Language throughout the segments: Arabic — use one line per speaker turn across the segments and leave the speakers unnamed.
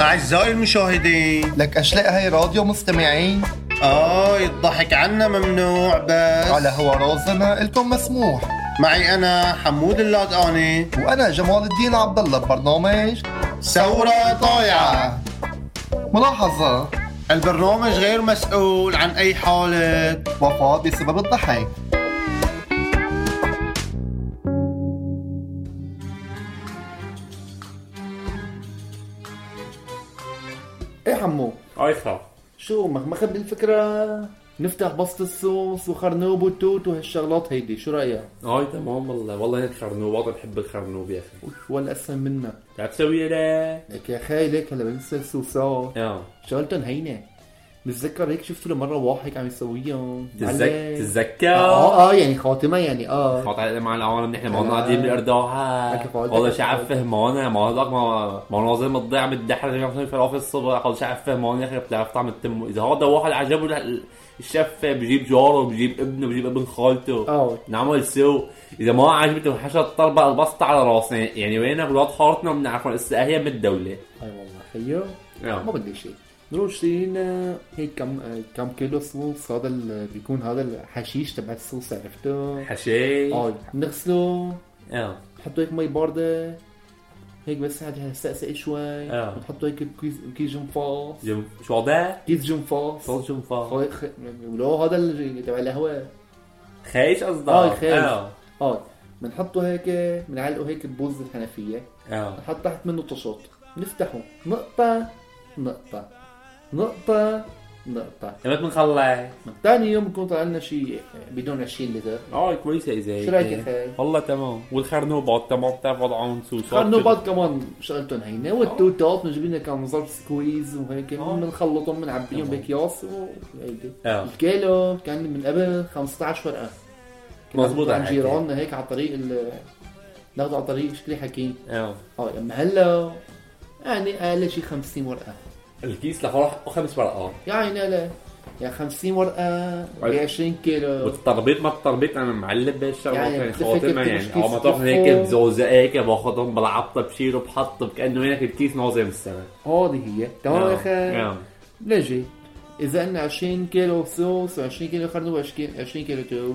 أعزائي المشاهدين
لك أشلاء هاي راديو مستمعين
آه الضحك عنا ممنوع بس
على هوا رازنا إلكم مسموح
معي أنا حمود اللادقاني
وأنا جمال الدين عبد الله ببرنامج
ثورة طايعة
ملاحظة
البرنامج غير مسؤول عن أي حالة
وفاة بسبب الضحك
ايه حمو
ايفا
شو مخمخة الفكرة نفتح بسط الصوص وخرنوب وتوت وهالشغلات هيدي شو رأيك؟
اي تمام والله والله هيك خرنوبات بحب الخرنوب يا اخي
ولا أسهل منها
تعال تسوي لا
لك يا خي ليك هلا بنسى الصوصات
اه
شغلتهم هينة بتذكر هيك شفته لمرة واحد عم يسويهم
تتذك-
معلم.
تتذكر
اه اه يعني خاتمة يعني اه
خاطر على مع العالم نحن ما قاعدين بالارداحات
لك فوائد
والله
لك
شعب
فوائد.
فهمانة ما هذاك ما مناظر مضيع متدحرج عشان فلافل الصبح والله شعب فهمانة يا اخي بتعرف طعم التم اذا هذا واحد عجبه ال- الشف بجيب جاره بجيب ابنه بجيب ابن خالته
اه
نعمل سو اذا ما عجبته حشر الطربه البسطة على راسنا يعني وين اولاد حارتنا بنعرفهم لسه هي من الدوله
اي أيوة والله خيو
آه.
ما بدي شيء نروح شيرين هيك كم آه، كم كيلو صوص هذا ال- بيكون هذا الحشيش تبع الصوص عرفته
إيه. حشي
اه نغسله
اه
نحط هيك مي باردة هيك بس عاد هسقسق شوي
آه.
نحط هيك بكيس بكيس جنفاص
جم... شو ده؟
كيس جنفاص
صوت شنفا
خي- خي- ولو هذا اللي تبع القهوة
خيش قصدك
آه، خيش.
اه
اه بنحطه هيك بنعلقه هيك ببوز الحنفية
اه
نحط تحت منه طشاط نفتحه نقطة نقطة نقطة نقطة
لما بنخلص
من ثاني يوم بكون طلع لنا شيء بدون 20 لتر
اه كويسه اذا
شو رأيك يا خي؟
والله تمام والخرنوبات تمام بتعرف وضعهم سو
النوبات كمان شغلتهم هينه والتوتات بنجيب لنا كم ظرف سكويز وهيك بنخلطهم بنعبيهم باكياس وهيدي
اه
الكيلو كان من قبل 15 ورقه كنا
مظبوط
عم
على
جيراننا هيك على طريق ال ناخذ على طريق شكلي حكي
اه
اه لما هلا يعني اقل شي 50 ورقه
الكيس لفرح خمس ورقات
يعني لا يا 50 ورقه ب 20 كيلو
والتربيط ما التربيط انا معلب بهالشغله
يعني
يعني
بتلف
خاتمه
هيك
يعني
بتكبس
اه ما تاخذ هيك
بتلفه.
بزوزقه هيك باخذهم بلعبطه بشيله بحطه كانه هيك الكيس نازل من السما
هذه هي تمام يا اخي
آه.
لجي اذا قلنا 20 كيلو صوص و20 كيلو خرنوب و20 20 كيلو تو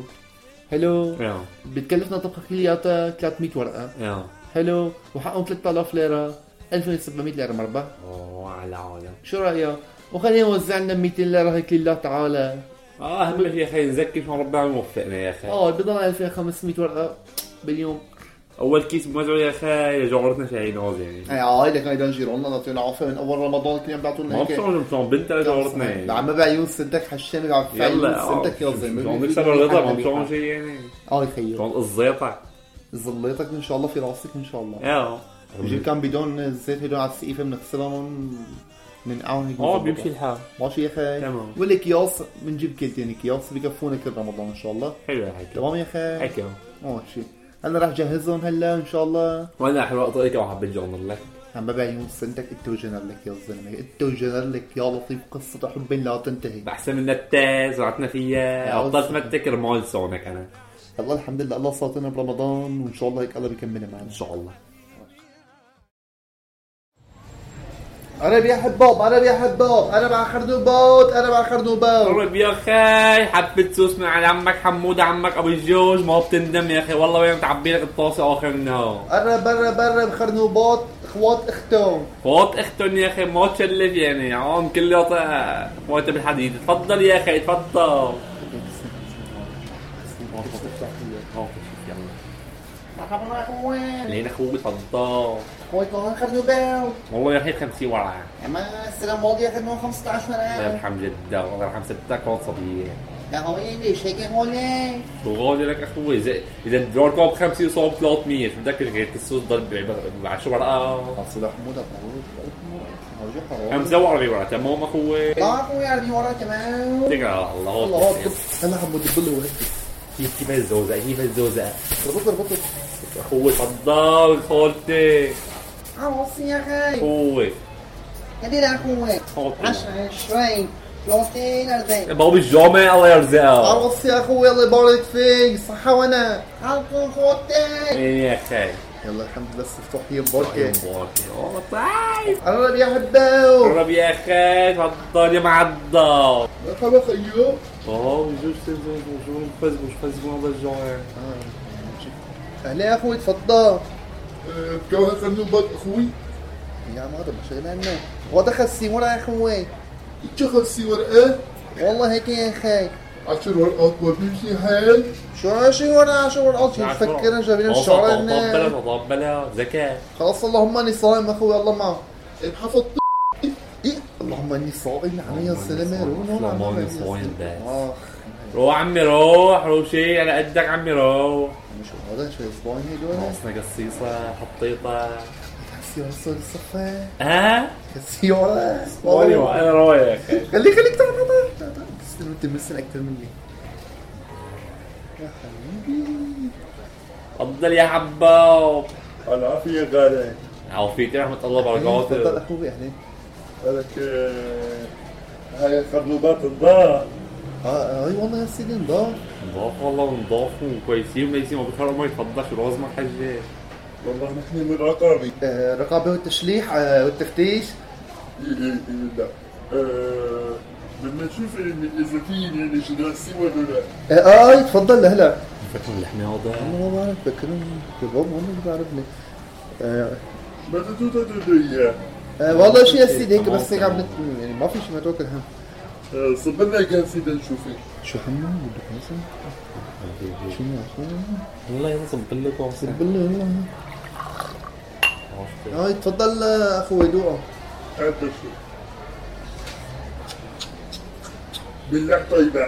حلو
اه
بتكلفنا طبخه كلياتها 300 ورقه
اه
حلو وحقهم 3000 ليره 1700 ليره مربح
اوه على العالم
شو رايك وخلينا نوزع لنا 200 ليره هيك لله تعالى
اه اهم شيء يا اخي نزكي شو ربنا يوفقنا يا اخي
اه بضل 2500 ورقه باليوم
اول كيس بمزعو يا اخي جعرتنا شي نوز يعني
اي عائلك هيدا جيراننا نعطيهم العافية من أول رمضان كنا عم بيعطوا
ما
لنا هيك
بصير نصوم بنت على جعرتنا يعني
عم بعيون سنتك حشام عم
يلا
بعيون سنتك يا زلمة
عم نكسر الرضا ما بصوم شيء يعني
اه خيو
شلون الزيطة
زليتك ان شاء الله في راسك ان شاء الله
اه
بجيب كم بدون زيت هدول على السقيفة بنغسلهم بنقعهم هيك
اه
بنظبطهم.
بيمشي الحال
ماشي يا اخي
تمام.
والاكياس بنجيب كيلتين اكياس بكفونا كل رمضان ان شاء الله
حلو الحكي
تمام يا اخي
حكي
ماشي انا راح جهزهم هلا ان شاء الله
وانا حلو طريقة وحب الجنر لك
عم ببيع يوم سنتك انت وجنر لك يا زلمه انت وجنر لك يا لطيف قصه حب لا تنتهي
بحسن من التاز وعطنا فيها
يا
بطلت
أخي.
متك رمال سونك انا
الله الحمد لله الله صوتنا برمضان وان شاء الله هيك الله بيكملها معنا
ان شاء الله
عرب يا حباب عرب يا حباب عرب على خرنوبات عرب على خرنوبات
قرب طيب يا اخي حبة سوس من على عمك حمود عمك ابو الجوج ما بتندم يا اخي والله وين تعبي لك الطاسة اخر النهار
قرب قرب قرب خرنوبات اخوات اختهم
فوت اختن يا اخي ما تشلف يعني عم كل يعطى فوت بالحديد تفضل يا اخي تفضل لين اخوي تفضل
اخوات والله خرنوبات
والله يا اخي 50 ورقه
اما السنه الماضيه كانوا 15
الله
عام
يرحم جدك الله يرحم ستك هون صبيه
يا هوي ليش هيك هون
شو غالي لك اخوي اذا اذا دوركم ب 50 صوب 300 شو بدك غير الصوص ضرب ب 10 ورقه
اصل حمود مبروك موجه حرام
45 ورقه تمام اخوي
تعرفوا يعني ورا تمام
تقرا على الله
الله
والله
اكبر هلا حمود بله وهدي
كيف كيف الزوزه كيف الزوزه
ربط ربط
اخوي تفضل خالتي
عوص يا غاي
اخوي
هدي اخوك
خالتي
عشرة عشرين ثلاثين أربعين
بابا الجامع الله يرزقه
عروس يا اخوي الله يبارك فيك صحة وانا
عطوا خوتك
ايه يا اخي
يلا الحمد لله السفاح ينبرك
والله طيب
انا بيحبه
قرب يا اخي اتفضل يا معضل
خلاص ايوه
اه بيجوش تنزل بيجوش فاز مش فاز ما برجعوا
اهلا يا اخوي اتفضل بكره خلني بعد اخوي
يا مرة
شغلنا هو دخل السيمور يا اخوي
شغل سي
إيه؟
ورقات
والله هيك يا اخي
عشر ورقات ما بيمشي حال
شو شو ورا شو ورا شو تفكرنا جايبين الشعر
طبلة
هنا
طبلة ذكاء
خلاص اللهم اني صائم اخوي الله معك
انحفظت
إيه؟ اللهم اني صائم علي السلامة
اللهم إني صائم بس. روح عمي روح روح شي على قدك عمي روح
مش هذا شو صائم هدول
ناقصنا قصيصة حطيطة
سيارة الصفا
ها؟
سيارة
ايوه انا روح يا اخي
خليك خليك تعال تعال تعال تعال. تستنى انت مسن اكثر مني
اتفضل يا حباب
العافية غالي
عوفيتي رحمة الله
تفضل
بركاته
اخوي اهلا
لك هاي خرنوبات الضاع
اه اي والله يا سيدي نضاف
نضاف والله ونضاف وكويسين وليسين ما بيخربوا ما يتفضلش ولازم حجة
والله نحن من رقابي
آه، الرقابة والتشليح آه، والتفتيش
لا آه، بدنا نشوف إن- اذا في يعني جناسي ولا لا
اه آه، تفضل لهلا
فكرة اللحمة هذا
والله ما بعرف بكرم شباب والله ما بعرفني آه،
ما تدو تدو اياه
آه، والله شيء يا سيدي هيك بس هيك عم نت- يعني ما في شيء ما توكل هم
آه، صبرنا كان سيدا نشوفك
شو هم بدك مثلا شو ما
والله ينصب لكم
بالله والله هاي تفضل آه، اخوي دوقه
هذا شو بالله طيبة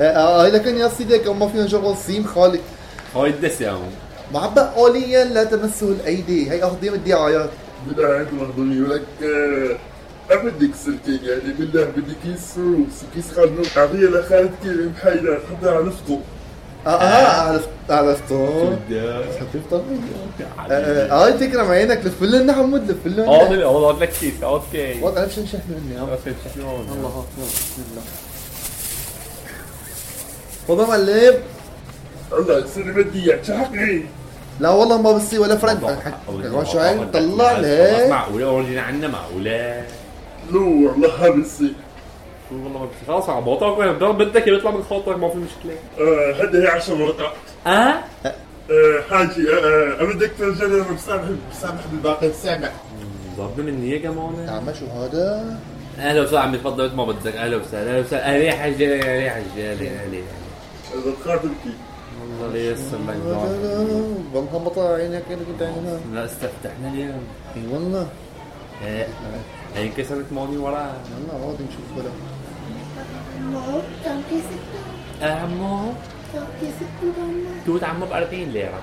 آه، آه، هاي لكن يا سيدي هيك ما فينا شغل سيم خالي
هاي الدسم
معبق قوليا لا تمسه الايدي هي اخذين الدعايات
بدها عند مهضوم يقول لك آه، ما بدك سلكي يعني بالله بدي كيس روس كيس خرنوب عطيه لخالتك محيرة حطها على نفطه
اه اه عرفت عرفته خفيف طبيعي اه هاي تكرم عينك لف لنا حمود لف لنا
اه طلع والله لك كيس اوكي
والله عرفت شو شحن مني يا عم.
الله
الله هات يلا، بسم الله والله مقلب
الله يصير بدي اياك شو حقي
لا والله ما بصير ولا فرنك أنا شو عين طلع لي
معقولة ورجينا عنا معقولة
لو والله ما بصير
والله ما بت- خلاص عبطك وين ضرب بدك يطلع من خاطرك ما في مشكلة
آه، هذا هي 10 ورقات
اه
آه، حاجي آه، آه، بدك ترجع لي انا مسامح مسامح بالباقي سامح
ضربنا من هي كمان
عم شو هذا
اهلا وسهلا عمي تفضل مثل ما بدك اهلا وسهلا اهلا وسهلا اهلا يا حاج اهلا يا حاج اهلا اهلا
اذا خاطبتي
والله يسلمك
هذا؟ والله مطلع عينك اللي كنت عينها
لا استفتحنا اليوم
اي والله
آه، هي انكسرت ماضي وراها
يلا عادي نشوف ولا
No, don't kiss it.
عمو
Don't kiss it, Mama.
توت عمو ب 40 ليرة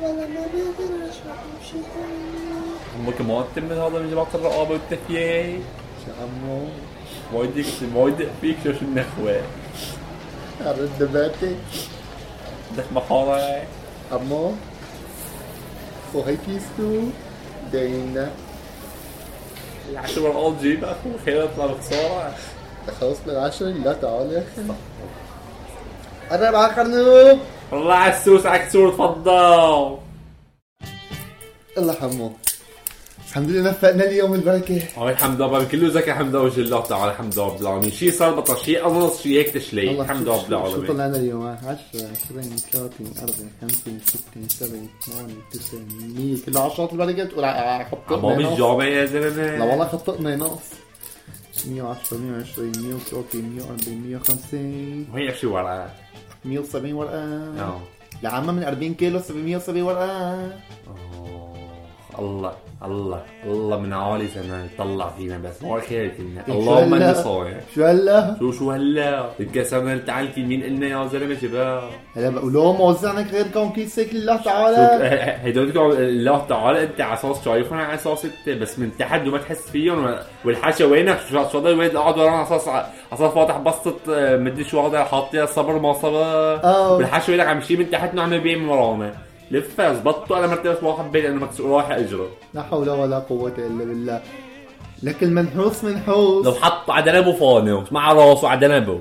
Well, I'm not going to show you. She's going
عمو كمان تم هذا من جماعة الرقابة والتكييف
شو عمو
ما يديك ما يدق فيك شو شو النخوة
عرفت دباتي
بدك محارة
عمو وهي كيستو داينا
العشرة ورقات جيب اخو خير اطلع بخسارة
خلص من العشرة لا تعال يا اخي انا معاك خرنوب
والله عسوس عكسور تفضل
يلا حمو الحمد لله نفقنا اليوم البركة
هاي الحمد لله بابا كله زكي الحمد لله وجه الله تعالى الحمد لله رب العالمين شيء صار بطل شيء قنص شيء هيك تشلي الحمد لله رب
شو
العالمين
طلعنا اليوم 10 20 30 40 50 60 70 8 9 100 كل عشرات البركة تقول ع- ع- خططنا
عمو
ناقص.
بالجامع يا
لا
زلمة
والله خططنا ناقص 110 120 130 140 150
وهي شو ورقة
170 ورقة
آه.
لعامة من 40 كيلو 770 ورقة
آه. الله الله الله من عالي سنة طلع فينا بس ما خير فينا
شو
اللهم
هلا؟
اني صايم
شو هلا؟
شو شو هلا انكسرنا تعال مين قلنا يا زلمه شباب
هلا بقول لهم موزعنك غير كون كيسك لله
آه.
تعالى
هدول الله تعالى انت على اساس شايفهم على اساس انت بس من تحت وما تحس فيهم والحاشا وينك شو شو هذا الولد قاعد ورانا على اساس على اساس فاتح بسطه آه، مدري شو هذا حاط لها صبر ما صبر
آه.
والحاشا وينك عم يشيل من تحت وعم يبيع من ورانا لفه زبطوا على مرتبه واحد بين انه مكسور رايح اجره
لا حول ولا قوة إلا بالله لك المنحوس منحوس
لو حط عدنبه فانوس مع راسه عدنبه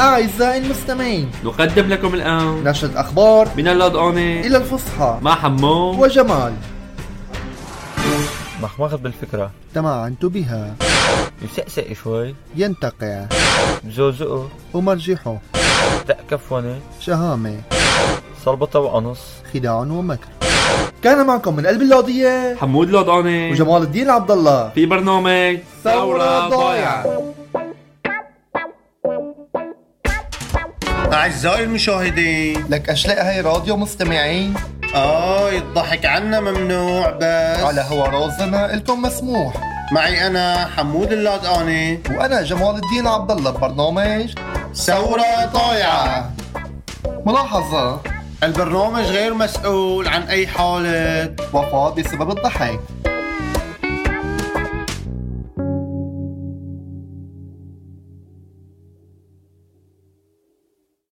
أعزائي المستمعين
نقدم لكم الآن
نشرة أخبار
من اللادقونة
إلى الفصحى
مع حمو
وجمال
مخمخت بالفكرة
تمعنت بها
مسقسق شوي
ينتقع
مزوزقه
ومرجحه
دق كفونة
شهامة
صربطة وقنص
خداع ومكر كان معكم من قلب اللوضية
حمود لادقونة
وجمال الدين عبد الله
في برنامج
ثورة ضايعة أعزائي المشاهدين
لك اشلاء هاي راديو مستمعين
آه الضحك عنا ممنوع بس
على هو رازنا قلتم مسموح
معي أنا حمود اللادقاني
وانا جمال الدين عبد الله ببرنامج
ثورة ضايعة
ملاحظه
البرنامج غير مسؤول عن أي حالة
وفاه بسبب الضحك